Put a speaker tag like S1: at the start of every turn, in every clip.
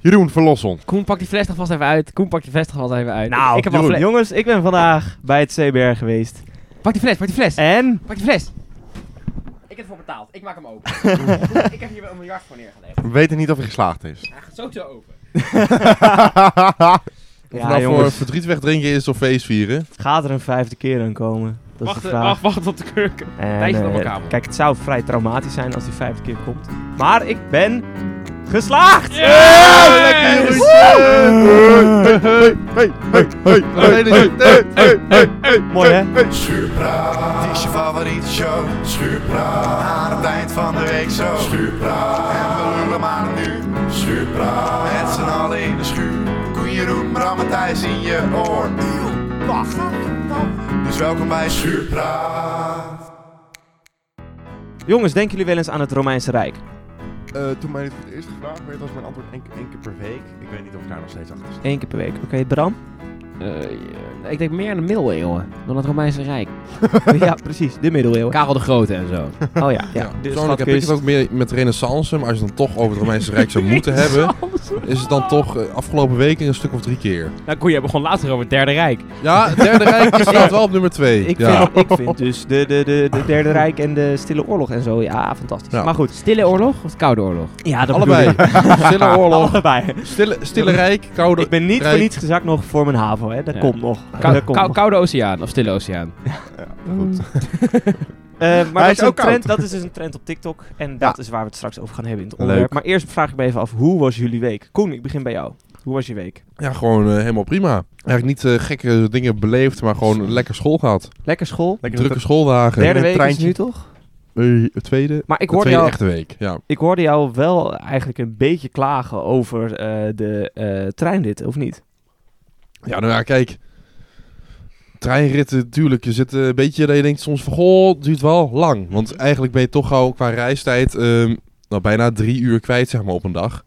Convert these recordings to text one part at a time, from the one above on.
S1: Jeroen Verlosson.
S2: Koen, pak die fles nog vast even uit. Koen, pak die fles nog vast even uit.
S3: Nou,
S2: ik heb al
S3: Jeroen,
S2: fle-
S3: jongens, ik ben vandaag bij het CBR geweest.
S2: Pak die fles, pak die fles.
S3: En?
S2: Pak die fles. Ik heb ervoor betaald. Ik maak hem open. ik heb hier een miljard voor neergelegd.
S1: We weten niet of hij geslaagd is.
S2: Hij gaat sowieso open.
S1: of
S3: Ja,
S1: nou voor
S3: jongens.
S1: verdriet wegdrinken is of feest vieren.
S3: Gaat er een vijfde keer aan komen? Dat is
S2: wacht,
S3: de vraag.
S2: wacht, wacht op de keuken.
S3: En,
S2: Tijdje
S3: eh,
S2: op elkaar, man.
S3: kijk, het zou vrij traumatisch zijn als die vijfde keer komt. Maar ik ben geslaagd!
S1: Lekker,
S3: Yes!
S1: Jeroen. Hey, hey, hey, hey, hey, hey, hey, hey, hey, hey, hey.
S3: Mooi hè?
S4: Schuurpraat, het is je favoriete show. Schuurpraat, aan het eind van de week zo. Schuurpraat, en we lullen maar een uur. Schuurpraat, met z'n allen in de schuur. Koen Jeroen, Bram en Thijs in je oor. Wacht, dus welkom bij Schuurpraat.
S3: Jongens, denken jullie wel eens aan het Romeinse Rijk?
S1: Eh, Toen mij dit voor het eerst gevraagd werd, was mijn antwoord één één keer per week. Ik weet niet of ik daar nog steeds achter sta.
S3: Eén keer per week. Oké, Bram?
S2: Eh, ik denk meer aan de middeleeuwen dan het Romeinse Rijk.
S3: ja, precies. De middeleeuwen.
S2: Karel de Grote en zo.
S3: Oh ja, ja. De
S1: Persoonlijk heb ik het
S3: schatkist.
S1: ook meer met renaissance, maar als je het dan toch over het Romeinse Rijk zou moeten hebben, is het dan toch eh, afgelopen weken een stuk of drie keer.
S2: Nou, Koen, jij begon later over het Derde Rijk.
S1: Ja, het Derde Rijk staat wel op nummer twee.
S3: Ik,
S1: ja.
S3: vind, ik vind dus de, de, de, de Derde Rijk en de Stille Oorlog en zo, ja, fantastisch.
S1: Ja.
S3: Maar goed.
S2: Stille oorlog of Koude oorlog?
S3: Ja, dat
S1: Allebei. Stille oorlog,
S3: Allebei.
S1: stille, stille Rijk, koude...
S3: Ik Oh, ben niet
S1: Rijk.
S3: voor niets gezakt nog voor mijn HAVO, hè. Dat
S2: Ja.
S3: komt nog.
S2: Kou-
S3: dat komt
S2: kou-
S3: nog.
S2: koude oceaan of Stille oceaan?
S1: Goed.
S3: Eh,
S1: Hij
S3: maar dat
S1: is
S3: is, een
S1: ook koud.
S3: trend, dat is dus een trend op TikTok. En dat is waar we het straks over gaan hebben in het
S1: Leuk.
S3: onderwerp. Maar eerst vraag ik me even af, hoe was jullie week? Koen, ik begin bij jou. Hoe was je week?
S1: Ja, gewoon eh, helemaal prima. Eigenlijk niet eh, gekke dingen beleefd, maar gewoon lekker school gehad.
S3: Lekker school?
S1: Drukke schooldagen.
S3: Derde week is
S1: treintje.
S3: nu toch?
S1: Eh, tweede.
S3: Maar ik
S1: de
S3: hoorde,
S1: tweede
S3: jou,
S1: echte week, ja.
S3: ik hoorde jou wel eigenlijk een beetje klagen over eh, de eh treinrit, of niet?
S1: Ja, nou ja, kijk. Treinritten, natuurlijk. Je zit eh, een beetje dat je denkt soms van, goh, het duurt wel lang. Want eigenlijk ben je toch al qua reistijd ehm, nou, bijna drie uur kwijt, zeg maar, op een dag.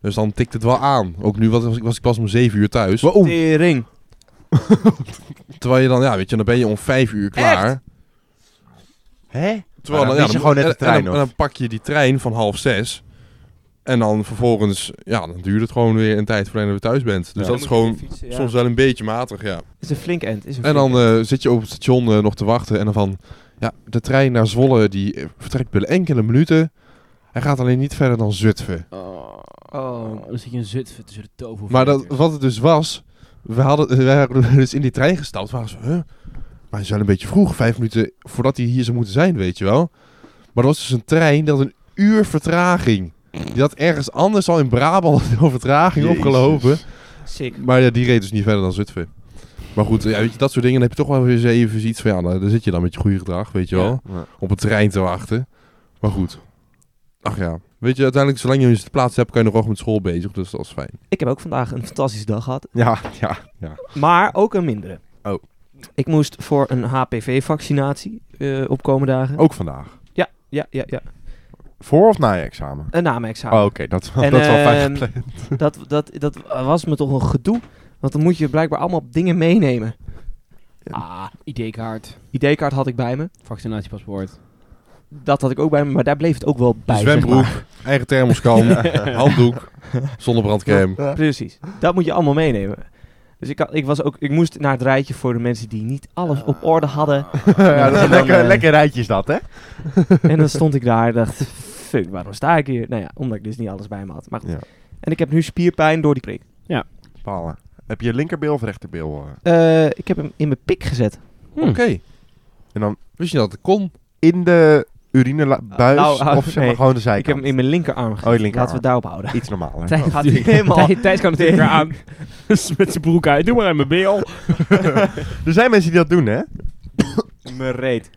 S1: Dus dan tikt het wel aan. Ook nu was, was ik was ik pas om zeven uur thuis.
S3: Tering.
S1: Terwijl je dan, ja, weet je, dan ben je om vijf uur klaar.
S4: Hé?
S1: Terwijl
S4: Maar dan
S1: ja,
S4: mis je gewoon net de
S1: en- en
S4: trein,
S1: dan,
S4: of?
S1: en dan pak je die trein van half zes. En dan vervolgens, ja, dan duurt het gewoon weer een tijd voordat je weer thuis bent. Dus
S3: Dan
S1: dat is
S3: moet je
S1: gewoon
S3: fietsen, ja.
S1: soms wel een beetje matig, ja.
S3: Is een flink end. Is een
S1: En
S3: flink
S1: dan eh, zit je op het station eh, nog te wachten en dan van... Ja, de trein naar Zwolle die eh, vertrekt binnen enkele minuten. Hij gaat alleen niet verder dan Zutphen.
S3: Oh.
S2: Dan zit je een Zutphen tussen de toven.
S1: Maar dat, wat het dus was... We hadden, eh, wij waren dus in die trein gestapt. We waren zo, huh? Maar het is wel een beetje vroeg. Vijf minuten voordat hij hier zou moeten zijn, weet je wel. Maar dat was dus een trein die had een uur vertraging. Die had ergens anders al in Brabant een vertraging
S4: Jezus.
S1: opgelopen.
S3: Sick.
S1: Maar ja, die reed dus niet verder dan Zutphen. Maar goed, ja, weet je, dat soort dingen dan heb je toch wel weer eens even zoiets van... Ja, nou, daar zit je dan met je goede gedrag, weet je wel. Op een trein te wachten. Maar goed. Ach ja. Weet je, uiteindelijk, zolang je dus de plaats hebt, kan je nog wel met school bezig. Dus dat is fijn.
S3: Ik heb ook vandaag een fantastische dag gehad.
S1: Ja, ja, ja.
S3: Maar ook een mindere.
S1: Oh.
S3: Ik moest voor een HPV-vaccinatie eh opkomende dagen.
S1: Ook vandaag.
S3: Ja, ja, ja.
S1: Voor of na je examen?
S3: Een naamexamen.
S1: oké. Dat,
S3: Ah, En,
S1: Oh, dat is wel fijn
S3: ehm,
S1: gepland.
S3: Dat, dat, dat was me toch een gedoe. Want dan moet je blijkbaar allemaal dingen meenemen.
S2: Ah, ID-kaart,
S3: ID-kaart had ik bij me.
S2: vaccinatiepaspoort.
S3: Dat had ik ook bij me, maar daar bleef het ook wel bij. zeg
S1: Zwembroek,
S3: maar.
S1: eigen thermoskan, handdoek, zonnebrandcrème.
S3: Precies. Dat moet je allemaal meenemen. Dus ik, had- ik, was ook, ik moest naar het rijtje voor de mensen die niet alles
S1: Ah.
S3: op orde hadden.
S4: Ja, dat is
S3: En dan,
S4: een lekker,
S3: eh,
S4: lekker rijtje is dat, hè?
S3: En dan stond ik daar en dacht, fuck, waarom sta ik hier? Nou ja, omdat ik dus niet alles bij me had. Maar goed.
S1: Ja.
S3: En ik heb nu spierpijn door die prik.
S4: Ballen. Heb je linkerbeel of rechterbil? eh,
S3: Eh, ik heb hem in mijn pik gezet.
S2: Hmm.
S1: Oké.
S4: En dan
S1: Wist je dat het kon?
S4: in de urinebuis?
S3: Nou, hou-
S4: of zeg maar
S3: nee.
S4: gewoon de zijkant?
S3: Ik heb hem in mijn linkerarm gezet.
S4: Oh, je linkerarm.
S3: Laten we het daarop houden.
S4: Iets normaler.
S2: Thijs,
S3: gaat hij helemaal-
S2: Thijs- Thijs kan natuurlijk weer aan. Met zijn broek uit. Doe maar aan mijn beel.
S4: Er zijn mensen die dat doen, hè?
S3: Mijn reet.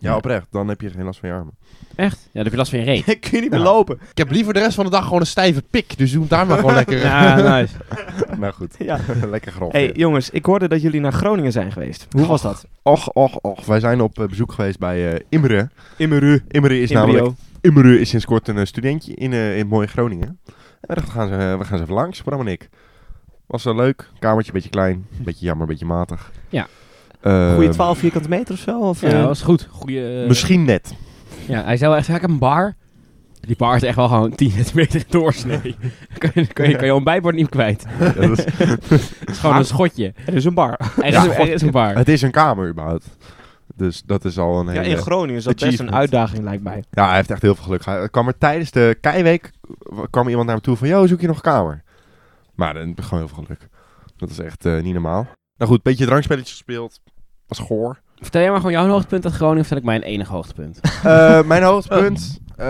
S4: Ja, oprecht. Dan heb je geen last van je armen.
S2: Echt? Ja, dan heb je last van je reet.
S3: Ik kun je niet meer lopen.
S1: Ik heb liever de rest van de dag gewoon een stijve pik. Dus doe hem daar maar gewoon lekker.
S2: Ja, nice.
S4: nou goed.
S3: Ja.
S4: lekker grof.
S3: Hey jongens, ik hoorde dat jullie naar Groningen zijn geweest. Hoe was dat?
S4: Och, och, och. Wij zijn op eh, bezoek geweest bij eh, Imre.
S3: Immeru.
S4: Imre is namelijk... Imre is sinds kort een eh, studentje in, eh in mooie Groningen. En we dachten, we gaan, ze, eh, we gaan ze even langs, Bram en ik. Was wel leuk. Kamertje, beetje klein. Beetje jammer, beetje matig.
S2: Ja.
S4: Eh,
S3: Goeie 12 vierkante meter of zo? Of,
S2: Ja,
S3: eh,
S2: dat was goed. Goeie, eh,
S4: Misschien net.
S2: Ja, hij zei wel echt, ja, ik heb een bar. Die paar is echt wel gewoon 10 centimeter in doorsnee. kan, je, kan, je, kan je ontbijtbord niet kwijt.
S4: Ja, dat is-
S2: Het is gewoon
S3: Maar-
S2: een schotje.
S3: Er is een bar.
S2: Er,
S4: Ja.
S2: is, er is een paar.
S4: het is een kamer überhaupt. Dus dat is al een
S3: Ja,
S4: hele...
S3: in Groningen is dat best een
S4: achievement.
S3: uitdaging, lijkt mij.
S4: Ja, hij heeft echt heel veel geluk gehad. Er kwam er tijdens de keiweek kwam er iemand naar hem toe van... Yo, zoek je nog een kamer? Maar dan heb ik gewoon heel veel geluk. Dat is echt eh, niet normaal. Nou goed, beetje drankspelletjes gespeeld. Was goor.
S2: Vertel jij maar gewoon jouw hoogtepunt uit Groningen, vertel ik mijn enige hoogtepunt.
S4: Eh, mijn hoogtepunt... eh,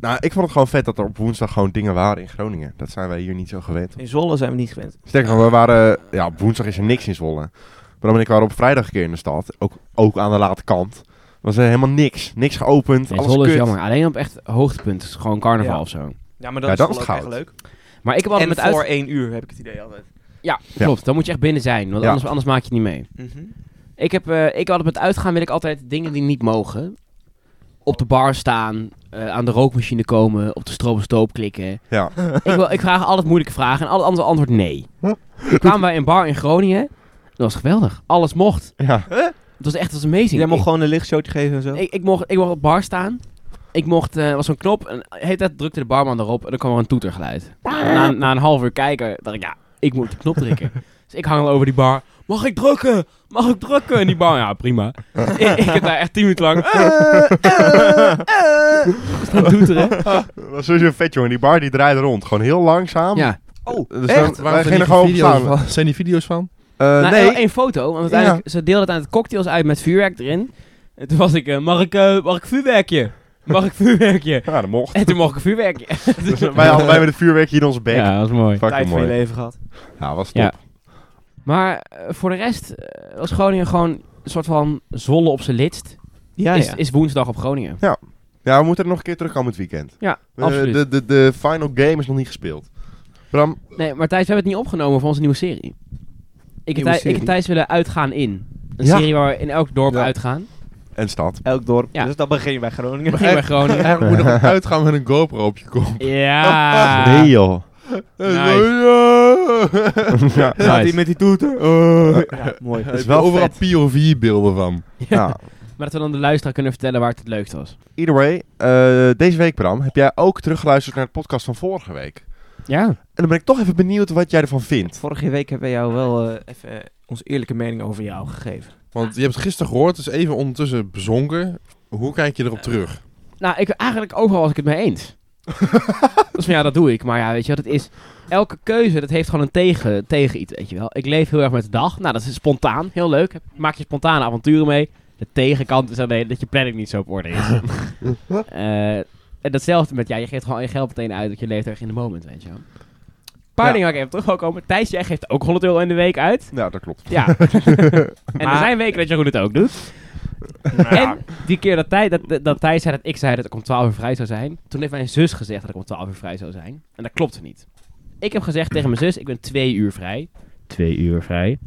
S4: nou, ik vond het gewoon vet dat er op woensdag gewoon dingen waren in Groningen. Dat zijn wij hier niet zo gewend.
S3: In Zwolle zijn we niet gewend.
S4: Sterker nog, we waren... Ja, op woensdag is er niks in Zwolle. Maar dan ben ik wel op vrijdag een keer in de stad. Ook, ook aan de late kant. Was er helemaal niks. Niks geopend.
S2: Nee,
S4: alles
S2: Zwolle is
S4: kut.
S2: jammer. Alleen op echt hoogtepunt. Dus gewoon carnaval
S3: Ja.
S2: of zo.
S3: Ja, maar
S4: Ja, dat is
S3: Zwolle ook
S4: goud.
S3: echt leuk.
S2: Maar ik heb altijd
S3: en
S2: met
S3: voor
S2: uit...
S3: één uur heb ik het idee altijd.
S2: Ja,
S4: Ja.
S2: klopt. Dan moet je echt binnen zijn. Want
S4: Ja.
S2: anders, anders maak je het niet mee.
S3: Mhm.
S2: Ik heb eh, ik altijd met uitgaan wil ik altijd dingen die niet mogen. Op de bar staan, eh, aan de rookmachine komen, op de stroop en stoop klikken.
S4: Ja.
S2: ik, wil, ik vraag altijd moeilijke vragen en alle antwoord antwoord nee. Toen kwamen wij in een bar in Groningen. Dat was geweldig. Alles mocht.
S4: Ja.
S2: Het was echt het was amazing.
S3: Jij mocht
S2: ik,
S3: gewoon een lichtshowtje geven en zo.
S2: ik, ik mocht, ik mocht op de bar staan. Ik mocht, eh, er was zo'n knop, en de hele tijd drukte de barman erop en dan kwam er een toetergeluid.
S4: Ah.
S2: Na, na een half uur kijken, dacht ik, ja, ik moet op de knop drukken. dus ik hang al over die bar. Mag ik drukken? Mag ik drukken? En die bar, ja, prima. ik, ik heb daar echt tien minuten lang... eh, eh, eh, staan toeteren.
S4: Dat was sowieso vet, jongen. Die bar die draaide rond. Gewoon heel langzaam.
S2: Ja.
S4: Oh, dus
S3: echt?
S4: Dan, wij gingen er gewoon op staan.
S1: van? Zijn die video's van?
S4: Eh,
S2: nou,
S4: nee.
S2: één- één foto, want uiteindelijk, ze deelden uiteindelijk cocktails uit met vuurwerk erin. En toen was ik, eh, mag, ik eh, mag ik vuurwerkje? Mag ik vuurwerkje?
S4: Ja, dat mocht.
S2: En toen mocht ik een vuurwerkje.
S4: Dus wij allebei met het vuurwerk hier in onze bek.
S2: Ja, dat is mooi.
S4: Fucking
S3: Tijd van je
S4: mooi.
S3: leven gehad.
S4: Ja, was top.
S2: Ja. Maar eh, voor de rest eh, was Groningen gewoon een soort van zolle op zijn litst.
S3: Ja,
S2: is,
S3: ja.
S2: is woensdag op Groningen.
S4: Ja, we moeten er nog een keer terugkomen het weekend.
S2: Ja,
S4: We-
S2: absoluut.
S4: Eh, De, de, de final game is nog niet gespeeld. Bram,
S2: Nee, maar Thijs, we hebben het niet opgenomen voor onze nieuwe serie. Ik, en
S3: Nieuwe
S2: Thij- ik en
S3: serie.
S2: Thijs willen uitgaan in. Een
S4: Ja.
S2: serie waar we in elk dorp
S4: Ja.
S2: uitgaan.
S4: en stad.
S3: Elk dorp.
S2: Ja.
S3: Dus dan begin je bij Groningen.
S2: Begin bij Groningen.
S4: Eigenlijk moet nog uitgaan met een GoPro op je kop.
S2: Ja.
S4: Nee joh. ja.
S2: Nice.
S3: Staat hij met die toeter.
S4: Oh.
S3: Ja, mooi.
S4: Er is wel overal POV-beelden van. Ja.
S2: Maar dat we dan de luisteraar kunnen vertellen waar het het leukst was.
S4: Either way, eh, deze week Bram, heb jij ook teruggeluisterd naar de podcast van vorige week.
S2: Ja.
S4: En dan ben ik toch even benieuwd wat jij ervan vindt.
S3: Vorige week hebben wij jou wel eh, even eh, onze eerlijke mening over jou gegeven.
S4: Want je hebt het gisteren gehoord, dus even ondertussen bezonken. Hoe kijk je
S1: Eh,
S4: erop terug?
S2: Nou, ik, eigenlijk overal was ik het mee eens. dus van, ja, dat doe ik. Maar ja, weet je wat het is? Elke keuze, dat heeft gewoon een tegen, tegen iets, weet je wel. Ik leef heel erg met de dag. Nou, dat is spontaan. Heel leuk. Maak je spontane avonturen mee. De tegenkant is alleen dat je planning niet zo op orde is. Eh, en datzelfde met, ja, je geeft gewoon je geld meteen uit. Dat je leeft erg in de moment, weet je wel. Een paar
S4: Ja.
S2: dingen waar ik even terug wil komen. Thijs, jij geeft ook 100 euro in de week uit.
S4: Nou, dat klopt.
S2: Ja. en er
S3: Maar-
S2: zijn weken dat Jeroen het ook doet. En die keer dat, Thij, dat, dat Thijs zei dat ik zei dat ik om 12 uur vrij zou zijn. Toen heeft mijn zus gezegd dat ik om 12 uur vrij zou zijn. En dat klopte niet. Ik heb gezegd tegen mijn zus, ik ben twee uur vrij. Twee uur vrij.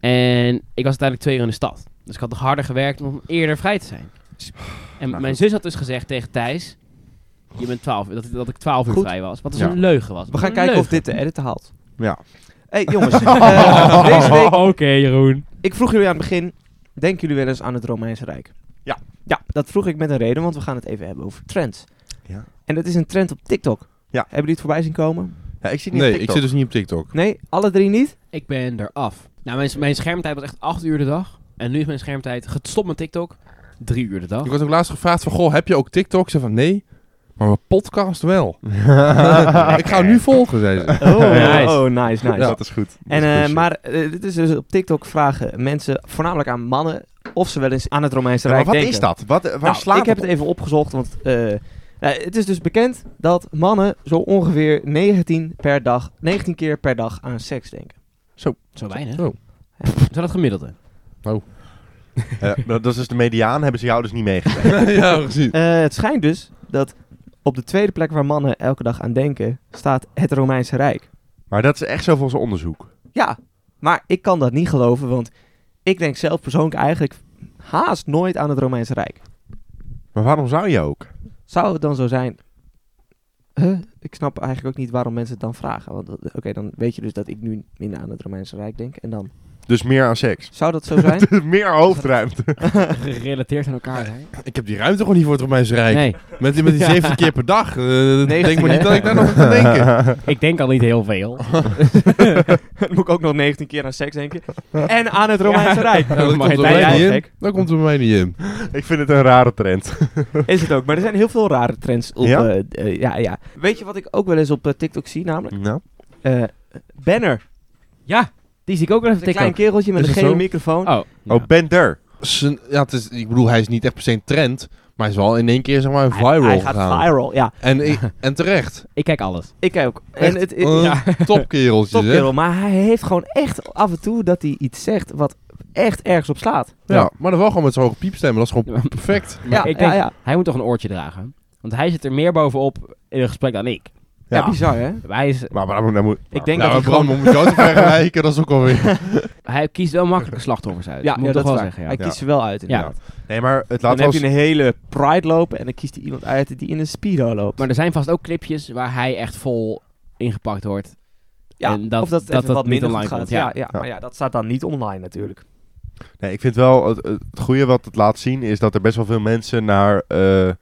S2: En ik was uiteindelijk twee uur in de stad. Dus ik had nog harder gewerkt om eerder vrij te zijn. En
S4: Nou,
S2: mijn
S4: goed.
S2: zus had dus gezegd tegen Thijs... Je bent 12, uur- dat, dat ik 12 uur
S3: Goed.
S2: vrij was. Wat dus
S4: Ja.
S2: een leugen was.
S3: We gaan
S2: Een
S3: kijken
S2: leugen.
S3: of dit de edit haalt.
S4: Ja.
S3: hey, jongens, eh, deze week,
S2: Oké, Jeroen.
S3: ik vroeg jullie aan het begin, denken jullie wel eens aan het Romeinse Rijk?
S4: Ja.
S3: Ja, dat vroeg ik met een reden, want we gaan het even hebben over trends.
S4: Ja.
S3: En dat is een trend op TikTok.
S4: Ja.
S3: Hebben jullie het voorbij zien komen?
S4: ik zit niet
S1: Nee,
S4: op
S1: ik
S4: TikTok.
S1: zit dus niet op TikTok.
S3: Nee, alle drie niet?
S2: Ik ben eraf. Nou, mijn, mijn schermtijd was echt 8 uur de dag. En nu is mijn schermtijd gestopt met TikTok. 3 uur de dag.
S1: Ik werd ook laatst gevraagd van, goh, heb je ook TikTok? Ik zei van, nee, maar mijn podcast wel. ik ga hem nu volgen, zei ze.
S3: Oh,
S2: Nice.
S3: oh, nice, nice.
S4: Ja, dat is goed.
S3: En,
S4: Dat is
S3: eh,
S4: goed.
S3: maar eh, dit is dus op Tiktok vragen mensen, voornamelijk aan mannen, of ze wel eens aan het Romeinse
S4: Ja, maar
S3: Rijk
S4: wat
S3: denken.
S4: is dat? Wat, eh, waar
S3: Nou,
S4: slaat
S3: ik heb
S4: op?
S3: het even opgezocht, want eh, nou, het is dus bekend dat mannen zo ongeveer 19, per dag, 19 keer per dag aan seks denken.
S2: Zo weinig.
S1: Oh.
S2: Ja, Is dat het gemiddelde?
S4: Eh, dat dat is dus de mediaan, hebben ze jou dus niet meegegeven.
S1: ja, precies.
S3: Eh, het schijnt dus dat op de tweede plek waar mannen elke dag aan denken, staat het Romeinse Rijk.
S4: maar dat is echt zo volgens onderzoek.
S3: Ja, maar ik kan dat niet geloven, want ik denk zelf persoonlijk eigenlijk haast nooit aan het Romeinse Rijk.
S4: Maar waarom zou je ook?
S3: Zou het dan zo zijn? Huh? Ik snap eigenlijk ook niet waarom mensen het dan vragen. Want eh, oké, dan weet je dus dat ik nu minder aan het Romeinse Rijk denk. En dan.
S4: Dus meer aan seks.
S3: Zou dat zo zijn?
S4: meer hoofdruimte.
S2: gerelateerd aan elkaar zijn.
S1: Ik heb die ruimte gewoon niet voor het op mijn rijk.
S2: Nee,
S1: Met, die- met die 17 keer per dag. eh, denk
S3: 19,
S1: maar niet
S3: hè?
S1: dat ik daar nog aan kan denken.
S2: ik denk al niet heel veel.
S3: Dan moet ik ook nog 19 keer aan seks denken. En aan het Romeinse Rijk.
S1: Ja, Nou, dat, komt er bij
S3: Bij
S1: mij
S3: jou,
S1: niet in.
S3: gek.
S1: dat komt er bij mij niet in.
S4: ik vind het een rare trend.
S3: Is het ook. Maar er zijn heel veel rare trends op...
S4: Ja?
S3: Ja? ja, ja. Weet je wat ik ook wel eens op eh, TikTok zie namelijk?
S4: Nou.
S3: Eh, banner.
S2: Ja, die zie ik ook wel even
S3: Een klein
S2: tikken.
S3: kereltje met
S1: Is
S3: een
S1: dat
S3: gele
S1: zo?
S3: microfoon.
S2: Oh,
S4: Oh, Bender.
S1: Zijn- ja, het is, ik bedoel, hij is niet echt per se een trend. Maar hij is wel in één keer zeg maar, viral
S3: hij, hij gaat
S1: gegaan.
S3: viral, ja.
S1: En, ik- en terecht.
S2: ik kijk alles.
S3: Ik ook.
S1: Echt?
S3: En het,
S1: Eh, Topkereltjes, hè?
S3: Topkerel, maar hij heeft gewoon echt af en toe dat hij iets zegt wat echt ergens op slaat.
S1: Ja, maar dan wel gewoon met zo'n hoge piepstemmen. Dat is gewoon perfect.
S3: Ja,
S2: ik denk-
S3: ja, ja.
S2: Hij moet toch een oortje dragen? Want hij zit er meer bovenop in een gesprek dan ik.
S3: Ja, bizar hè?
S2: Hij, is,
S4: Maar, maar, maar, maar-
S2: ik denk
S1: nou,
S2: dat hij,
S1: maar Bram,
S2: gewoon,
S1: om jou te vergelijken, dat is ook alweer...
S2: hij kiest wel makkelijke slachtoffers uit.
S3: Ja,
S2: moet
S3: ja
S2: ik
S3: dat
S2: toch wel
S3: is waar.
S2: zeggen. Ja.
S3: Hij kiest ze wel uit inderdaad.
S4: Nee, maar het
S3: Dan
S4: laat
S3: heb
S4: wel...
S3: je een hele pride lopen en dan kiest hij iemand uit die in een speedo loopt.
S2: Maar er zijn vast ook clipjes waar hij echt vol ingepakt wordt.
S3: ja,
S2: en dat-
S3: of dat,
S2: dat
S3: even
S2: dat
S3: wat
S2: niet
S3: minder
S2: online
S3: goed gaat.
S2: komt,
S3: Ja.
S2: ja.
S3: Ja, maar ja, dat staat dan niet online natuurlijk.
S4: Nee, ik vind wel het, het goede wat het laat zien is dat er best wel veel mensen naar eh, eh,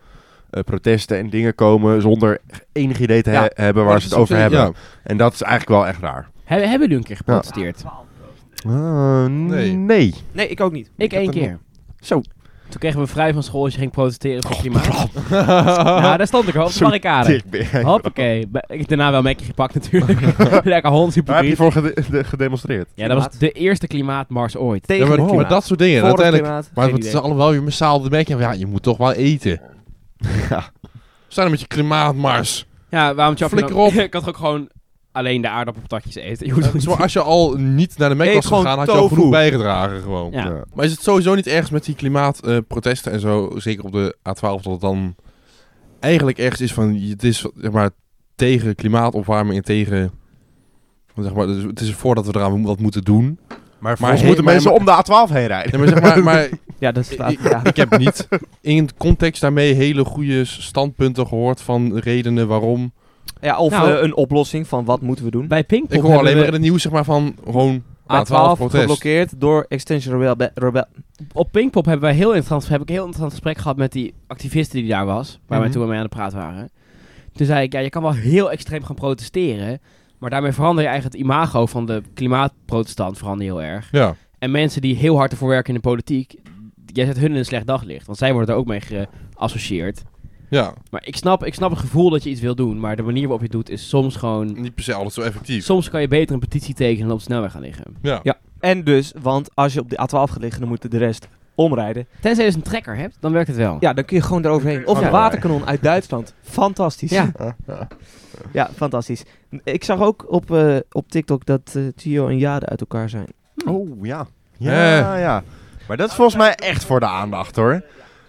S4: protesten en dingen komen zonder enig idee te he-
S3: Ja,
S4: hebben waar ze het over hebben.
S1: Ja.
S4: En dat is eigenlijk wel echt raar.
S2: Hebben, hebben jullie een keer geprotesteerd?
S1: nee.
S4: Ah, nee.
S3: Nee, ik ook niet.
S2: Ik één
S4: dat
S2: keer.
S4: Zo.
S2: Toen kregen we vrij van school als je ging protesteren voor het klimaat. ja, daar stond ik al op de
S4: Zo
S2: barricade.
S4: Dik ben jij.
S2: Oh, Hoppakee. Be- Ik heb daarna wel een mekje gepakt natuurlijk. Lekker Hans
S4: Waar heb je
S2: hypocriet.
S4: voor gede- de- gedemonstreerd?
S2: Ja, dat was de eerste klimaatmars ooit.
S1: Ja,
S3: Tegen
S1: maar,
S3: het
S1: maar
S3: klimaat.
S1: dat soort dingen.
S3: Voor het
S1: uiteindelijk,
S3: klimaat.
S1: maar
S2: Geen
S1: het is
S2: idee.
S1: allemaal weer massaal de merk. Ja, je moet toch wel eten. Ja. Zijn er met je klimaatmars?
S2: Ja, waarom tjap je
S1: Flikker
S2: nou-
S1: op.
S2: Ik had ook gewoon alleen de aardappelpatatjes eten. Je hoeft ook
S1: Het is wel,
S2: niet-
S1: als je al niet naar de Mac
S3: Eet
S1: was
S3: gewoon
S1: gegaan, had je al
S3: tofu.
S1: genoeg bijgedragen gewoon.
S2: Ja.
S4: Ja.
S1: Maar is het sowieso niet ergens met die klimaatprotesten en zo, zeker op de A12, dat het dan eigenlijk ergens is van, het is zeg maar tegen klimaatopwarming en tegen, zeg maar, dus het is voordat we eraan wat moeten doen.
S4: Maar
S1: Maar
S4: volgens
S1: hey,
S4: moeten
S1: maar-
S4: mensen om de A12 heen rijden.
S1: Nee, maar zeg maar, maar
S3: Ja, dat staat.
S1: ik,
S3: Ja.
S1: ik heb niet in het context daarmee hele goede standpunten gehoord van redenen waarom.
S3: ja, of
S2: Nou.
S3: eh, een oplossing van wat moeten we doen.
S2: Bij Pinkpop
S1: Ik hoor alleen maar in
S2: hebben
S1: het nieuws zeg maar van gewoon
S3: A12
S1: protest.
S3: geblokkeerd door Extension Rebel. be- rebel
S2: we- op Pinkpop hebben wij heel interessant, heb ik een heel interessant gesprek gehad met die activisten die daar was. Waar wij
S1: Mhm.
S2: toen mee aan de praat waren. Toen zei ik, ja, je kan wel heel extreem gaan protesteren. Maar daarmee verander je eigenlijk het imago van de klimaatprotestant verander je heel erg.
S1: Ja.
S2: En mensen die heel hard ervoor werken in de politiek, jij zet hun in een slecht daglicht. Want zij worden er ook mee geassocieerd.
S1: Ja,
S2: Maar ik snap, ik snap het gevoel dat je iets wil doen. Maar de manier waarop je het doet is soms gewoon
S1: niet per se altijd zo effectief.
S2: Soms kan je beter een petitie tekenen dan op de snelweg gaan liggen.
S1: Ja.
S3: En dus, want als je op de A12 gaat liggen, dan moet de rest omrijden.
S2: Tenzij je dus een trekker hebt, dan werkt het wel.
S3: Ja, dan kun je gewoon eroverheen. Of een
S2: Ja.
S3: waterkanon uit Duitsland. Fantastisch.
S2: Ja.
S3: Ja, fantastisch. Ik zag ook op, eh, op TikTok dat eh, Tio en Jade uit elkaar zijn.
S4: Oh, ja. Ja, ja. Maar dat is volgens mij echt voor de aandacht, hoor.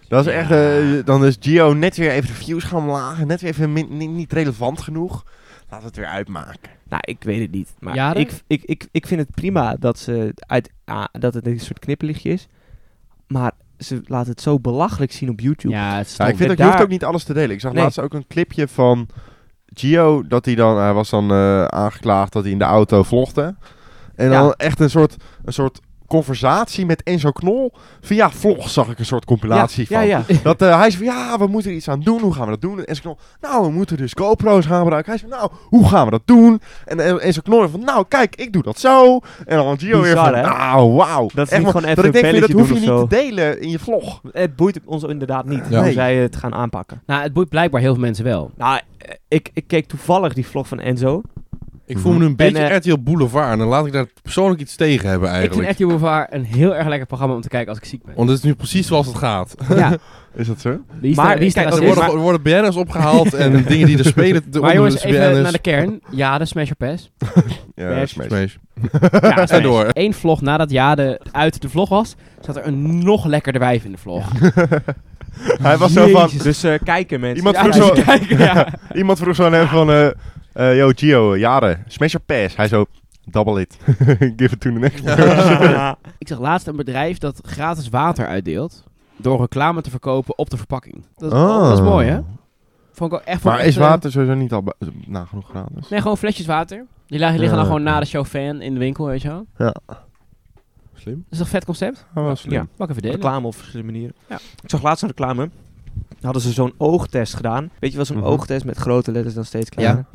S4: Dat is echt... eh, dan is Gio net weer even de views gaan lagen. Net weer even min- ni- niet relevant genoeg. Laat het weer uitmaken.
S3: Nou, ik weet het niet. Maar
S2: Jade?
S3: ik, ik, ik, ik vind het prima dat, ze uit, ah, dat het een soort knipperlichtje is. Maar ze laten het zo belachelijk zien op YouTube.
S2: ja het is
S4: Ja, Nou, ik
S2: stom.
S4: vind ook, je
S3: daar-
S4: hoeft ook niet alles te delen. Ik zag
S3: Nee.
S4: laatst ook een clipje van Gio. Dat hij dan... Hij was dan eh, aangeklaagd dat hij in de auto vlogde. En
S3: Ja.
S4: dan echt een soort... Een soort conversatie met Enzo Knol. Via vlog zag ik een soort compilatie van.
S3: ja, ja.
S4: Dat eh, hij zei van, ja, we moeten er iets aan doen. Hoe gaan we dat doen? En ze knol, nou, we moeten dus GoPro's gaan gebruiken. Hij zei, nou, hoe gaan we dat doen? En, en, en ze knol van, nou, kijk, ik doe dat zo. En dan Gio weer
S3: Bizar,
S4: van,
S3: hè?
S4: nou, wauw.
S3: Dat is
S4: Echt
S3: niet
S4: maar-
S3: gewoon even
S4: dat ik denk,
S3: een
S4: van, ja, dat hoef
S3: belletje
S4: je niet
S3: doen
S4: te
S3: of
S4: delen in je vlog.
S3: Het boeit ons inderdaad niet
S1: Ja.
S3: hoe
S4: Nee.
S3: zij het gaan aanpakken.
S2: Nou, het boeit blijkbaar heel veel mensen wel.
S3: Nou, eh, ik, ik keek toevallig die vlog van Enzo.
S1: Ik voel me nu een beetje
S3: eh,
S1: RTL Boulevard. En dan laat ik daar persoonlijk iets tegen hebben
S2: Mhm. Ik vind
S1: eigenlijk.
S2: Active Boulevard een heel erg lekker programma om te kijken als ik ziek ben.
S1: Want het is nu precies zoals het gaat.
S2: ja,
S4: Is dat zo?
S2: die is
S3: Maar
S2: maar, die is
S3: kijk,
S2: daar
S1: Er
S3: Precies.
S1: worden,
S2: maar,
S1: er worden BN'ers opgehaald en dingen die er spelen. De
S2: maar jongens,
S1: onder de
S2: even
S1: BN'ers.
S2: naar de kern. Jade, smash or pass.
S4: Ja,
S3: Nee,
S4: dat is meest.
S1: Smash.
S2: Ja,
S1: En door.
S2: Eén vlog nadat Jade uit de vlog was, zat er een nog lekkerder wijf in de vlog.
S4: Hij was zo van,
S3: Dus eh, kijken mensen.
S4: Iemand
S3: Ja,
S4: vroeg
S3: dus
S4: zo-
S3: kijken, ja.
S4: iemand vroeg zo aan hem van, eh eh, yo, Gio, jaren, smash your pass. Hij zo, double it. Give it to the next one.
S2: Ik zag laatst een bedrijf dat gratis water uitdeelt door reclame te verkopen op de verpakking. Dat, is-
S4: Ah.
S2: dat is mooi, hè? Vond ik ook echt vond ik
S4: Maar is
S2: echt, eh,
S4: water sowieso niet al nou, bu- nagenoeg gratis?
S2: Nee, gewoon flesjes water. Die lagen- liggen
S4: Ja.
S2: dan gewoon na de show fan in de winkel, weet je wel.
S4: Ja.
S1: Slim.
S2: is toch een vet concept?
S1: Ah, wel slim.
S3: Ja.
S2: Pak even delen.
S3: Reclame op verschillende manieren.
S2: Ja.
S3: Ik zag laatst een reclame. Hadden ze zo'n oogtest gedaan. Weet je wel, zo'n
S4: Mhm.
S3: oogtest met grote letters dan steeds kleiner.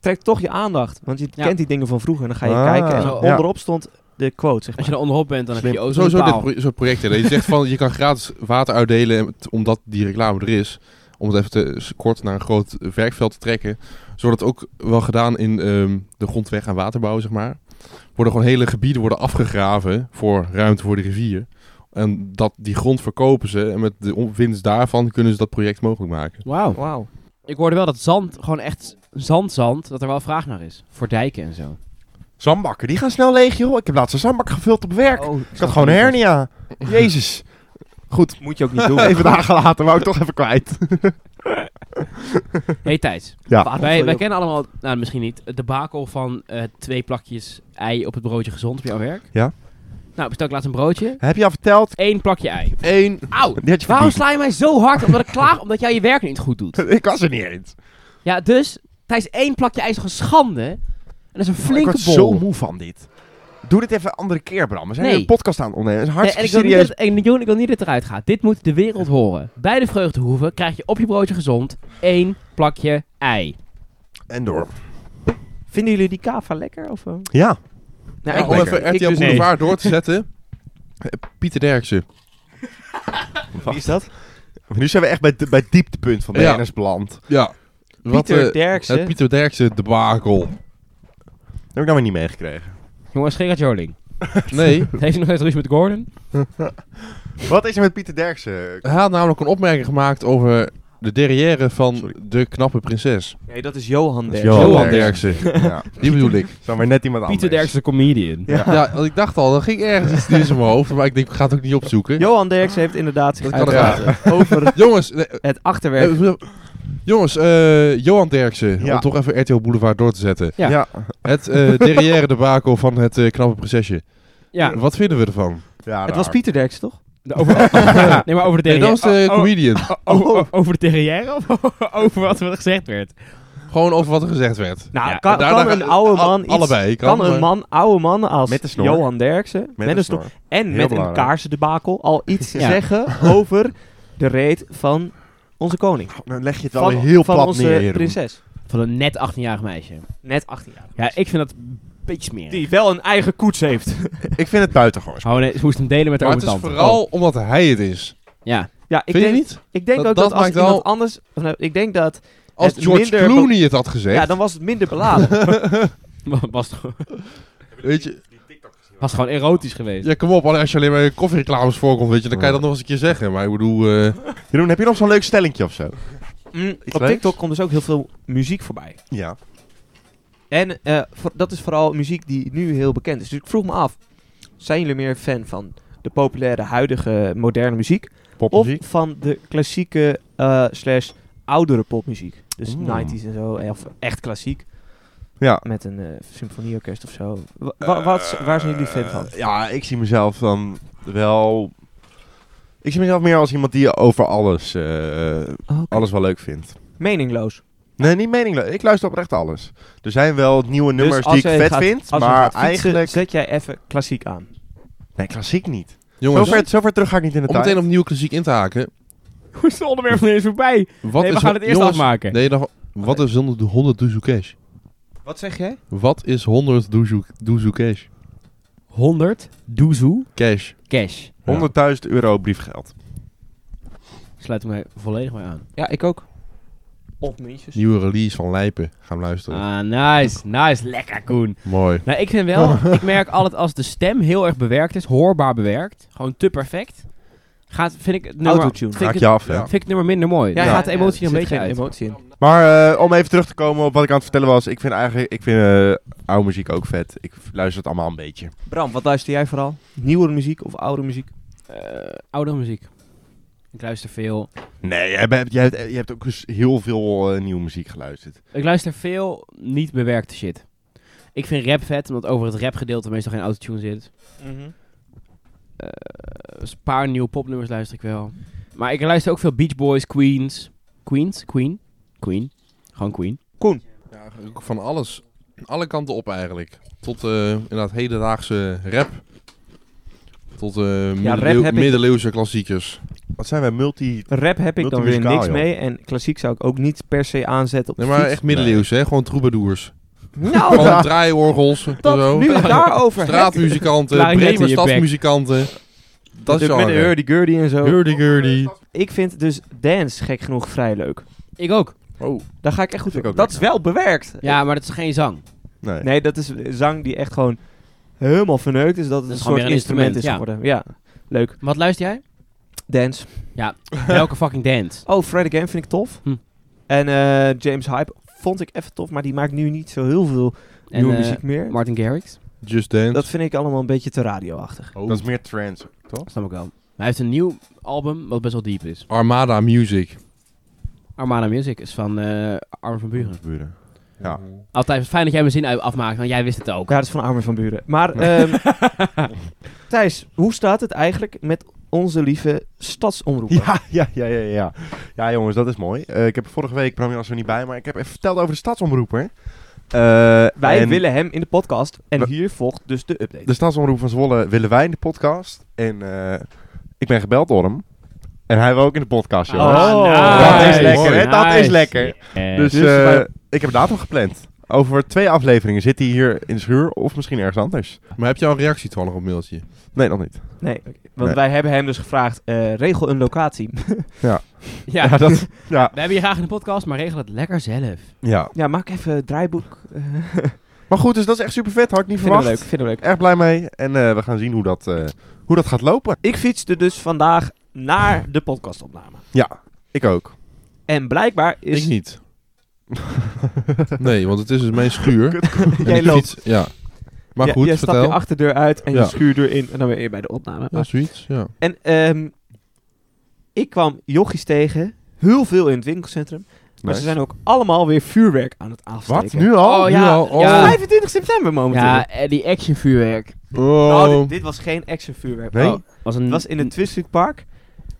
S3: Trekt toch je aandacht, want je
S2: Ja.
S3: kent die dingen van vroeger. En dan ga je
S4: Ah.
S3: kijken. En
S2: Zo.
S3: onderop stond de quote,
S2: Als
S3: zeg maar.
S2: je er onderop bent, dan heb je je
S1: Oh, Sowieso dit
S2: ozonpaal.
S1: pro soort projecten. Dat je zegt van, je kan gratis water uitdelen en t- omdat die reclame er is. Om het even te s- kort naar een groot eh, werkveld te trekken. Zo wordt het ook wel gedaan in ehm, de grondweg en waterbouw, zeg maar. Worden gewoon hele gebieden worden afgegraven voor ruimte voor de rivier. En dat, die grond verkopen ze. En met de on- winst daarvan kunnen ze dat project mogelijk maken.
S2: Wauw.
S3: Wauw.
S2: Ik hoorde wel dat zand, gewoon echt zandzand, dat er wel vraag naar is. Voor dijken en zo.
S4: Zandbakken, die gaan snel leeg, joh. Ik heb laatst een zandbak gevuld op werk.
S3: Oh,
S4: ik had gewoon een hernia. Jezus. Goed.
S3: Moet je ook niet doen.
S4: Even dagen later, wou ik toch even kwijt.
S2: Hey Thijs,
S4: Ja.
S3: Waarom
S2: wij,
S3: wil je
S2: wij
S3: ook-
S2: kennen allemaal, nou misschien niet, het debakel van eh, twee plakjes ei op het broodje gezond op jouw werk.
S4: Ja.
S2: Nou, bestel ik laatst een broodje.
S4: Heb je al verteld?
S2: Eén plakje ei.
S4: Eén.
S2: Auw!
S4: Die had je
S2: Waarom sla
S4: verdiend.
S2: je mij zo hard omdat ik klaag omdat jij je werk niet goed doet?
S4: Ik was er niet eens.
S2: Ja, dus Thijs, één plakje ei is toch een schande? En dat is een
S4: ik
S2: flinke
S4: word zo
S2: bol.
S4: moe van dit. Doe dit even een andere keer, Bram. We zijn
S2: Nee.
S4: een podcast aan het opnemen. Het is
S2: Nee, en ik
S4: hartstikke
S2: wil, niet
S4: serieus.
S2: dat, en Joen, ik wil niet dat het eruit gaat. Dit moet de wereld horen. Bij de vreugdehoeven krijg je op je broodje gezond één plakje ei.
S4: En door.
S3: Vinden jullie die kava lekker? Of, eh?
S4: Ja.
S3: Nou,
S4: Ja,
S3: ik-
S1: om
S4: lekker.
S1: even RTL
S3: dus niet.
S1: Boulevard door te zetten. eh, Pieter Derksen.
S4: Wie is dat? Nu zijn we echt bij, de- bij het dieptepunt van de
S1: Ja.
S4: NS beland.
S1: Ja.
S3: Pieter
S1: eh,
S3: Derksen.
S1: Het Pieter Derksen debakel.
S4: Dat heb ik nou weer niet meegekregen.
S2: Jongens, Gerard Joling.
S1: Nee.
S2: Heeft hij nog steeds ruzie met Gordon?
S4: Wat is er met Pieter Derksen?
S1: Hij had namelijk een opmerking gemaakt over de derrière van
S4: Sorry.
S1: de knappe prinses.
S3: Nee, dat is Johan
S4: Dat is
S3: Derksen.
S1: Johan
S4: Derksen.
S1: Derksen.
S4: ja,
S1: Die bedoel ik.
S4: zou maar net iemand anders.
S2: Pieter Derksen, de comedian.
S4: Ja.
S1: Ja, want ik dacht al, dat ging ergens iets in mijn hoofd, maar ik denk, ik ga het ook niet opzoeken.
S3: Johan Derksen heeft inderdaad zich
S1: Dat kan
S3: uitgelaten over
S1: Jongens, nee, eh,
S3: het achterwerk.
S1: eh, jongens, eh, Johan Derksen,
S4: Ja.
S1: om toch even RTL Boulevard door te zetten.
S2: Ja.
S4: Ja. Ja.
S1: Het eh derrière de bakel van het eh, knappe prinsesje.
S2: Ja,
S1: Wat vinden we ervan?
S3: Het was Pieter Derksen, toch?
S2: de over, nee, maar over de
S1: Nee,
S2: Oh,
S1: dat was
S2: derrière.
S1: de
S3: Oh,
S2: o- o-
S1: comedian. Oh,
S2: o- o- o- over de derrière of over wat er gezegd werd?
S1: Gewoon over wat er gezegd werd.
S3: Nou,
S2: Ja,
S3: kan,
S1: daarna
S3: kan een
S1: ga-
S3: oude
S1: al-
S3: man iets...
S1: allebei. Kan, eh,
S3: Kan, een
S1: maar-
S3: man, oude man als
S4: Met een snor.
S3: Johan Derksen, met, een snor, en met
S4: belangrijk.
S3: een kaarsendebakel al iets
S2: Ja.
S3: zeggen over de reet van onze koning.
S4: Dan Oh, nou leg je het wel
S3: Van,
S4: weer heel
S3: van
S4: plat
S3: onze
S4: neer, Jeroen.
S3: prinses.
S2: Van een net 18-jarig meisje.
S3: Net 18 jaar.
S2: Ja, ik vind dat een beetje smerig.
S3: Die wel een eigen koets heeft.
S4: Ik vind het buitengewoon.
S2: Oh nee, ze moest hem delen met haar
S1: Maar het is
S2: overtante.
S1: vooral omdat hij het is.
S2: Ja.
S3: Ja, ik
S1: Vind je
S3: denk,
S1: niet?
S3: Ik denk
S1: Dat-
S3: ook dat,
S1: dat
S3: als
S1: maakt
S3: iemand
S1: wel-
S3: anders... of nou, ik denk dat...
S1: Als
S3: Het
S1: George
S3: minder be-
S1: Clooney het had gezegd,
S3: Ja, dan was het minder beladen.
S2: Was, toch-
S1: weet je,
S2: was gewoon erotisch geweest.
S1: Ja, kom op. alleen Als je alleen maar in koffiereclames voorkomt, weet je, dan kan je dat nog eens een keer zeggen. Maar ik bedoel... eh,
S4: Jeroen, heb je nog zo'n leuk stellingje of zo?
S3: Mm, op
S4: leuks?
S3: TikTok komt dus ook heel veel muziek voorbij.
S4: Ja.
S3: En eh, voor- dat is vooral muziek die nu heel bekend is. Dus ik vroeg me af, zijn jullie meer fan van de populaire huidige moderne muziek?
S4: Popmuziek.
S3: Of van de klassieke eh, slash oudere popmuziek? Dus
S4: Oeh.
S3: 90s en zo, eh, of echt klassiek.
S4: Ja.
S3: Met een eh, symfonieorkest of zo. Wa- wa- wat, waar zijn jullie fan van?
S4: Eh, ja, ik zie mezelf dan wel... Ik zie mezelf meer als iemand die over alles, eh,
S3: Oh, Oké.
S4: alles wel leuk vindt.
S3: Meningloos. Dus
S4: Nee, niet meningloos. Ik luister oprecht alles. Er zijn wel nieuwe
S3: Dus
S4: nummers
S3: als
S4: die
S3: jij
S4: ik vet
S3: gaat-
S4: vind,
S3: als we
S4: maar
S3: gaan fietsen,
S4: eigenlijk...
S3: Zet jij even klassiek aan.
S4: Nee, klassiek niet. Zo
S1: jongens,
S4: ver, zo ver terug ga ik niet in de
S1: om
S4: tijd.
S1: meteen opnieuw klassiek in te haken.
S2: Hoe is het onderwerp van eens voorbij?
S1: Wat
S2: nee, we
S1: is
S2: gaan het eerst
S1: jongens,
S2: afmaken.
S1: Nee, dan, wat is 100 100 doezoe cash?
S3: Wat zeg jij?
S1: Wat is 100 doezoe doezoe cash?
S2: 100 doezoe
S1: Cash.
S2: cash.
S4: 100.000 euro briefgeld.
S2: Sluit me volledig mee aan.
S3: Ja, ik ook. Of muntjes.
S1: Nieuwe release van Lijpen. Gaan we luisteren.
S2: Ah, nice, nice. Lekker, Koen.
S1: Mooi.
S2: Nou, ik vind wel, ik merk altijd als de stem heel erg bewerkt is, hoorbaar bewerkt, gewoon te perfect, gaat, vind ik het nummer,
S3: Autotune.
S2: Vind
S4: Haak
S2: ik,
S4: je
S2: het,
S4: af, hè?
S1: Ja.
S2: vind ik het nummer minder mooi. Ja,
S3: ja,
S2: gaat de emotie
S3: ja,
S2: er een
S3: zit
S2: beetje
S3: geen
S2: uit.
S3: emotie in.
S4: Maar eh, om even terug te komen op wat ik aan het vertellen was. Ik vind eigenlijk, ik vind eh, oude muziek ook vet. Ik luister het allemaal een beetje.
S3: Bram, wat luister jij vooral? Nieuwere muziek of oude muziek?
S2: Eh, oudere muziek. Ik luister veel.
S4: Nee, jij hebt, jij hebt, jij hebt ook eens heel veel eh, nieuwe muziek geluisterd.
S2: Ik luister veel niet bewerkte shit. Ik vind rap vet, omdat over het rapgedeelte meestal geen autotune zit. Mhm. Eh, een paar nieuwe popnummers luister ik wel. Maar ik luister ook veel Beach Boys, Queens. Queens? Queen? Queen. Gewoon Queen.
S1: Van alles. Alle kanten op eigenlijk. Tot eh inderdaad hedendaagse rap. tot eh
S3: rap
S1: middeleeuw,
S3: heb ik-
S1: middeleeuwse klassiekers.
S4: Wat zijn wij? Multi...
S3: Rap heb ik dan weer
S4: Multimuzikaal,
S3: niks
S4: joh.
S3: mee. En klassiek zou ik ook niet per se aanzetten op
S1: Nee,
S3: de
S1: maar
S3: fiets.
S1: echt middeleeuws, hè? Gewoon troubadours.
S3: Nou,
S1: Gewoon
S3: dat,
S1: draaiorgels en zo.
S3: nu we het daarover hebben.
S1: Straatmuzikanten,
S2: Klarinet in
S1: Bremer
S2: je bek.
S1: stadsmuzikanten. Dat is
S3: Met de
S1: genre.
S3: hurdy-gurdy en zo.
S1: Hurdy-gurdy.
S3: Ik vind dus dance gek genoeg vrij leuk.
S2: Ik ook.
S1: Oh.
S3: Daar ga ik echt goed
S4: Vind
S3: op.
S4: ik ook
S3: Dat is wel bewerkt.
S2: Ja, maar dat is geen zang.
S4: Nee.
S3: Nee, dat is zang die echt gewoon helemaal verneukt is. Dat het
S2: is gewoon
S3: een soort
S2: weer een
S3: instrument is
S2: instrument,
S3: geworden. Ja, leuk.
S2: Wat luister jij?
S3: Dance.
S2: Welke fucking dance?
S3: Oh, Fred Again vind ik tof.
S2: Hm.
S3: En eh, James Hype vond ik even tof, maar die maakt nu niet zo heel veel
S2: En,
S3: nieuwe
S2: eh,
S3: muziek meer.
S2: Martin Garrix?
S1: Just Dance.
S3: Dat vind ik allemaal een beetje te radioachtig.
S1: Oh.
S4: Dat is meer trends.
S2: Snap ik wel. Hij heeft een nieuw album wat best wel diep is.
S1: Armada Music.
S2: Armada Music is van eh Armin van Buren.
S4: Buren. Ja.
S2: Altijd fijn dat jij mijn zin uit- afmaakt, want jij wist het ook.
S3: Ja, dat is van Armin van Buren. Maar ehm, Thijs, hoe staat het eigenlijk met onze lieve stadsomroepen?
S4: Ja, ja, ja, ja, ja. Ja, jongens, dat is mooi. Eh, ik heb er vorige week, Bram was er niet bij, maar ik heb even verteld over de stadsomroeper.
S3: Wij
S4: en
S3: willen hem in de podcast en
S4: We-
S3: hier volgt dus de update.
S4: De stadsomroep van Zwolle willen wij in de podcast. En eh, ik ben gebeld door hem. En hij wil ook in de podcast, jongens.
S3: Oh,
S4: dat is
S1: nice.
S4: lekker, hè? Dat is
S2: Oh, Nice.
S4: lekker.
S2: Eh,
S4: Dus
S3: dus
S4: eh,
S3: wij-
S4: ik heb een datum gepland. Over twee afleveringen zit hij hier in de schuur of misschien ergens anders.
S1: Maar heb je al een reactie toevallig op mailtje?
S4: Nee, nog niet.
S3: Nee, want
S4: Nee.
S3: wij hebben hem dus gevraagd, eh, regel een locatie.
S2: ja.
S4: Ja, dat, ja,
S2: We hebben je graag in de podcast, maar regel het lekker zelf.
S4: ja.
S3: ja, maak even het draaiboek. eh,
S4: Maar goed, dus dat is echt super vet. Had ik niet
S3: vinden we
S4: verwacht.
S3: leuk, vinden we leuk.
S4: Erg blij mee. En eh, we gaan zien hoe dat, eh, hoe dat gaat lopen.
S3: Ik fietste dus vandaag naar de podcastopname.
S4: Ja, ik ook.
S3: En blijkbaar is...
S1: Ik niet. nee, want het is dus mijn schuur. En
S3: Jij
S1: ik
S3: loopt.
S1: fiets- ja. Maar
S3: Ja,
S1: goed,
S3: jij stapt je
S1: vertel.
S3: achterdeur uit en
S1: Ja.
S3: je schuurdeur in en dan weer eer bij de opname.
S1: Ja, zoiets, ja.
S3: En ehm, ik kwam jochies tegen, heel veel in het winkelcentrum. Maar ze
S4: Nice.
S3: zijn ook allemaal weer vuurwerk aan het afsteken.
S4: Wat? Nu Ah. al?
S2: Oh,
S1: nu
S2: ja,
S1: al? Oh.
S2: ja.
S3: 25 september momenteel.
S2: Ja, eh, die action vuurwerk.
S3: Nou,
S1: Oh.
S3: dit, dit was geen action vuurwerk.
S4: Nee?
S3: Oh,
S2: Was een,
S3: het was in het Twistwood Park.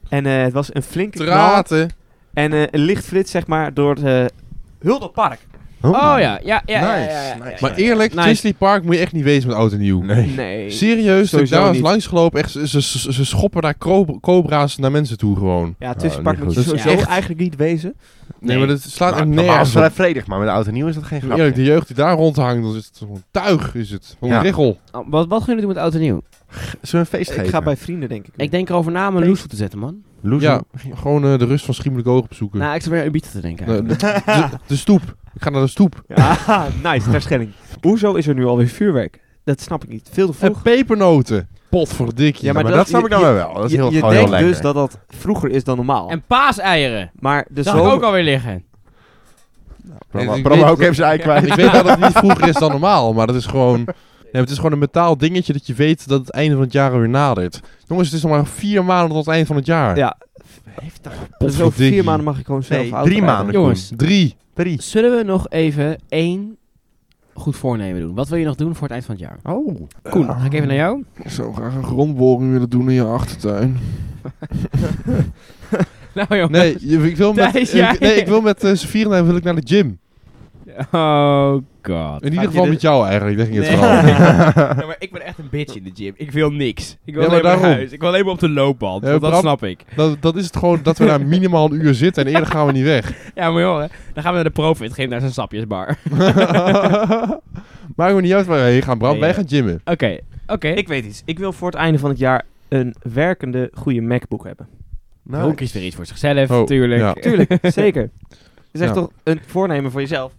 S3: En eh, het was een flinke knal.
S1: Traten.
S3: En eh, een lichtflits, zeg maar, door het eh, Hulderpark.
S2: Oh ja, ja, ja. ja,
S4: Nice,
S2: ja, ja,
S4: nice.
S2: ja.
S1: Maar eerlijk,
S2: Nice.
S1: Disney Park moet je echt niet wezen met oud en nieuw.
S4: Nee.
S3: Nee.
S1: Serieus, dat ik
S3: Sowieso
S1: daar eens
S3: niet.
S1: langs gelopen, echt, ze, ze, ze- ze schoppen daar kro- cobra's naar mensen toe gewoon.
S3: Ja, het
S4: Oh,
S3: Twistwood Park
S4: niet
S3: moet je
S4: goed.
S3: sowieso
S2: Ja, echt.
S3: eigenlijk niet wezen.
S1: Nee, maar dat slaat
S4: Nou,
S1: echt
S4: normaal is
S1: nergens
S4: het vrij
S1: op.
S4: vredig, maar met oud en nieuw is dat geen
S1: En Eerlijk, de
S4: grapje.
S1: jeugd die daar rondhangt, dat is het gewoon tuig, is het. Wat een
S4: Ja.
S1: richel.
S2: Oh, wat, wat gaan jullie doen met oud en nieuw?
S4: Zullen we een feest geven?
S3: Ik ga bij vrienden, denk ik.
S2: Ik denk erover na om een
S3: Nee.
S2: loes te zetten, man.
S4: Loes-
S1: Ja, gewoon eh, de rust van Schiemelijk Oog opzoeken.
S2: Nou, ik zou weer aan Ibiza te denken.
S1: de, de- de- de stoep. Ik ga naar de stoep.
S3: Ah, nice, ter Schelling. Hoezo is er nu alweer vuurwerk? Dat snap ik niet. Veel te vroeg.
S1: En pepernoten. Potverdikkie.
S3: Ja,
S4: Ja,
S3: maar
S4: maar,
S3: dat-
S4: dat snap
S3: je-
S4: ik dan
S3: je-
S4: wel. Dat is
S3: je
S4: heel,
S3: je
S4: gewoon heel
S3: denkt
S4: lekker.
S3: dus dat dat vroeger is dan normaal.
S2: En paaseieren.
S3: maar dus de
S2: Dat zag ik
S3: zomer...
S2: ook alweer liggen.
S1: Ik-
S4: Bram,
S1: ik
S4: Bram
S1: weet-
S4: ook even zijn ei kwijt.
S1: Ik weet wel dat het niet vroeger is dan normaal, maar dat is gewoon... Nee, het is gewoon een metaal dingetje dat je weet dat het einde van het jaar weer nadert. Jongens, het is nog maar vier maanden tot het eind van het jaar.
S3: Ja. Dus over
S1: Potverdikkie.
S3: vier maanden mag ik gewoon zelf
S4: Nee,
S3: auto
S4: drie
S3: rijden.
S4: maanden.
S2: Jongens,
S1: Drie.
S4: Drie.
S2: zullen we nog even één goed voornemen doen? Wat wil je nog doen voor het eind van het jaar?
S4: Oh.
S2: Koen, ga ik even naar jou.
S1: Ik zou graag een grondboring willen doen in je achtertuin.
S2: Nou joh.
S1: Nee, je- ik wil met,
S2: Thijs,
S1: ik-
S2: jij-
S1: nee, ik wil met eh, z'n vieren en wil ik naar de gym.
S2: Oh god.
S1: In ieder
S3: je
S1: geval
S3: de-
S1: met jou eigenlijk, denk ik het
S2: Nee.
S1: vooral.
S2: Ja, maar ik ben echt een bitch in de gym. Ik wil niks. Ik wil
S1: Ja, maar
S2: alleen maar naar
S1: daarom.
S2: huis. Ik wil alleen maar op de loopband.
S1: Ja,
S2: want dat
S1: Bram-
S2: snap ik.
S1: Dat, dat is het gewoon dat we daar minimaal een uur zitten en eerder gaan we niet weg.
S2: Ja, maar joh, hè. dan gaan we naar de Profit. Geef naar zijn sapjesbar. Oké,
S1: Maakt me niet uit waar we heen gaan, Bram.
S2: Nee,
S1: Wij
S2: ja.
S1: gaan gymmen.
S2: oké.
S3: Ik weet iets. Ik wil voor het einde van het jaar een werkende goede MacBook hebben.
S4: Nou,
S2: Ron kiest weer iets voor zichzelf,
S1: Oh,
S2: tuurlijk.
S1: ja.
S3: Tuurlijk, zeker. Dat is echt
S1: Ja.
S3: toch een voornemen voor jezelf.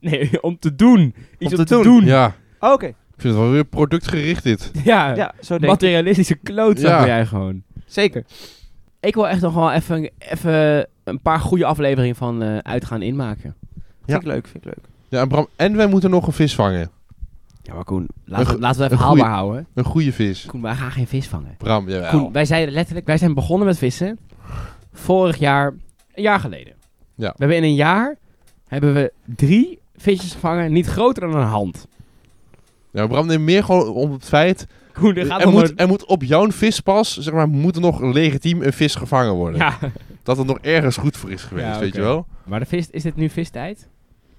S2: Nee, om te doen. Iets om,
S3: te
S2: te,
S3: doen.
S2: doen.
S1: Ja,
S3: Oké,
S1: ik vind het wel weer productgericht dit.
S2: Ja,
S3: ja, zo denk ik.
S2: materialistische klootzak
S1: Ja.
S2: ben jij gewoon.
S3: Zeker.
S2: Ik wil echt nog wel even, even een paar goede afleveringen van eh, uitgaan inmaken.
S3: Vind ik leuk, vind ik leuk.
S1: Ja, en Bram, en wij moeten nog een vis vangen.
S2: Ja, maar Koen,
S1: Een
S2: laten,
S1: go-
S2: we- laten we
S1: een
S2: even
S1: goeie-
S2: haalbaar houden.
S1: Een goede vis.
S2: Koen, wij gaan geen vis vangen.
S1: Bram, jawel.
S2: Koen, wij zeiden letterlijk, wij zijn begonnen met vissen. Vorig jaar, een jaar geleden.
S1: Ja.
S2: We hebben in een jaar, hebben we drie visjes gevangen, niet groter dan een hand.
S1: Ja, Bram, neem meer gewoon om het feit...
S2: Koen, er gaat
S1: Er
S2: nog
S1: moet,
S2: een-
S1: er moet op jouw vispas, zeg maar, moet er nog legitiem een vis gevangen worden.
S2: Ja.
S1: Dat het nog ergens goed voor is geweest,
S2: Ja,
S1: weet
S2: oké.
S1: je wel?
S2: Maar de vis, is dit nu vistijd?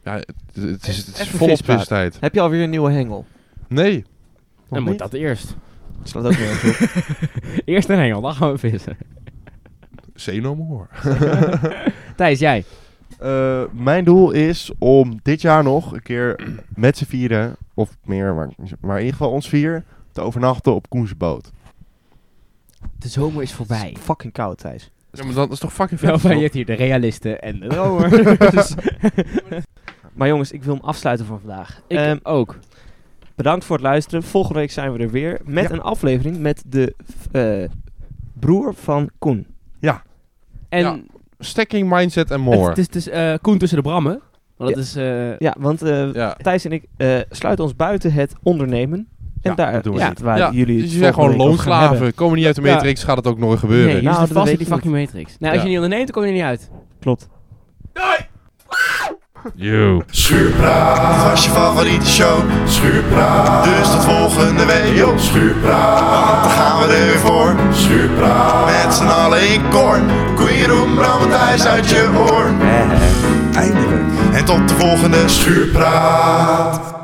S1: Ja, het, het is, het is
S3: Even
S1: volop
S3: vispraat.
S1: vistijd.
S3: Heb je alweer een nieuwe hengel?
S1: Nee.
S2: Dan
S1: nog
S2: moet
S1: niet.
S2: dat eerst.
S3: Slaat ook nergens op.
S2: Eerst een hengel, dan gaan we vissen.
S1: Say no more.
S2: Thijs, jij.
S4: Eh, mijn doel is om dit jaar nog een keer met z'n vieren, of meer, maar, maar in ieder geval ons vier, te overnachten op Koens boot.
S2: De zomer is voorbij.
S3: Fucking koud, Thijs.
S1: Ja, maar dat is toch fucking
S2: Wel
S1: vet.
S2: van, je
S1: toch?
S2: hebt hier de realisten en de dromer. dus,
S3: Maar jongens, ik wil hem afsluiten voor vandaag.
S2: ik
S3: Ehm,
S2: ook.
S3: bedankt voor het luisteren. Volgende week zijn we er weer met
S1: Ja.
S3: een aflevering met de eh, broer van Koen.
S2: En
S1: ja, Stacking mindset en more.
S2: het, het is dus eh, Koen tussen de brammen. Want dat
S3: Ja.
S2: is... eh,
S3: Ja, want eh,
S1: ja.
S3: Thijs en ik eh, sluiten ons buiten het ondernemen. En
S1: Ja,
S3: daar
S4: dat doen we
S3: ja,
S4: niet.
S3: waar
S1: Ja,
S3: jullie
S1: Dus
S3: het
S1: je zijn gewoon
S3: volgende week over gaan hebben.
S1: loonslaven. Komen niet uit de
S2: Ja.
S1: matrix, gaat het ook nooit
S2: nee,
S1: gebeuren.
S2: je
S3: Nou,
S2: zit
S3: dat
S2: vast
S3: weet
S2: in die
S3: ik niet.
S2: fucking matrix. Nou, als je
S1: Ja.
S2: niet onderneemt, dan kom je er niet uit.
S3: Klopt.
S1: Yo.
S5: Schuurpraat was je favoriete show. Schuurpraat, dus tot volgende week. Yo, schuurpraat, want dan gaan we er weer voor. Schuurpraat, met z'n allen in koor. Koeieroen, Bram thuis Eh, uit je oor. Eindelijk. En tot de volgende schuurpraat.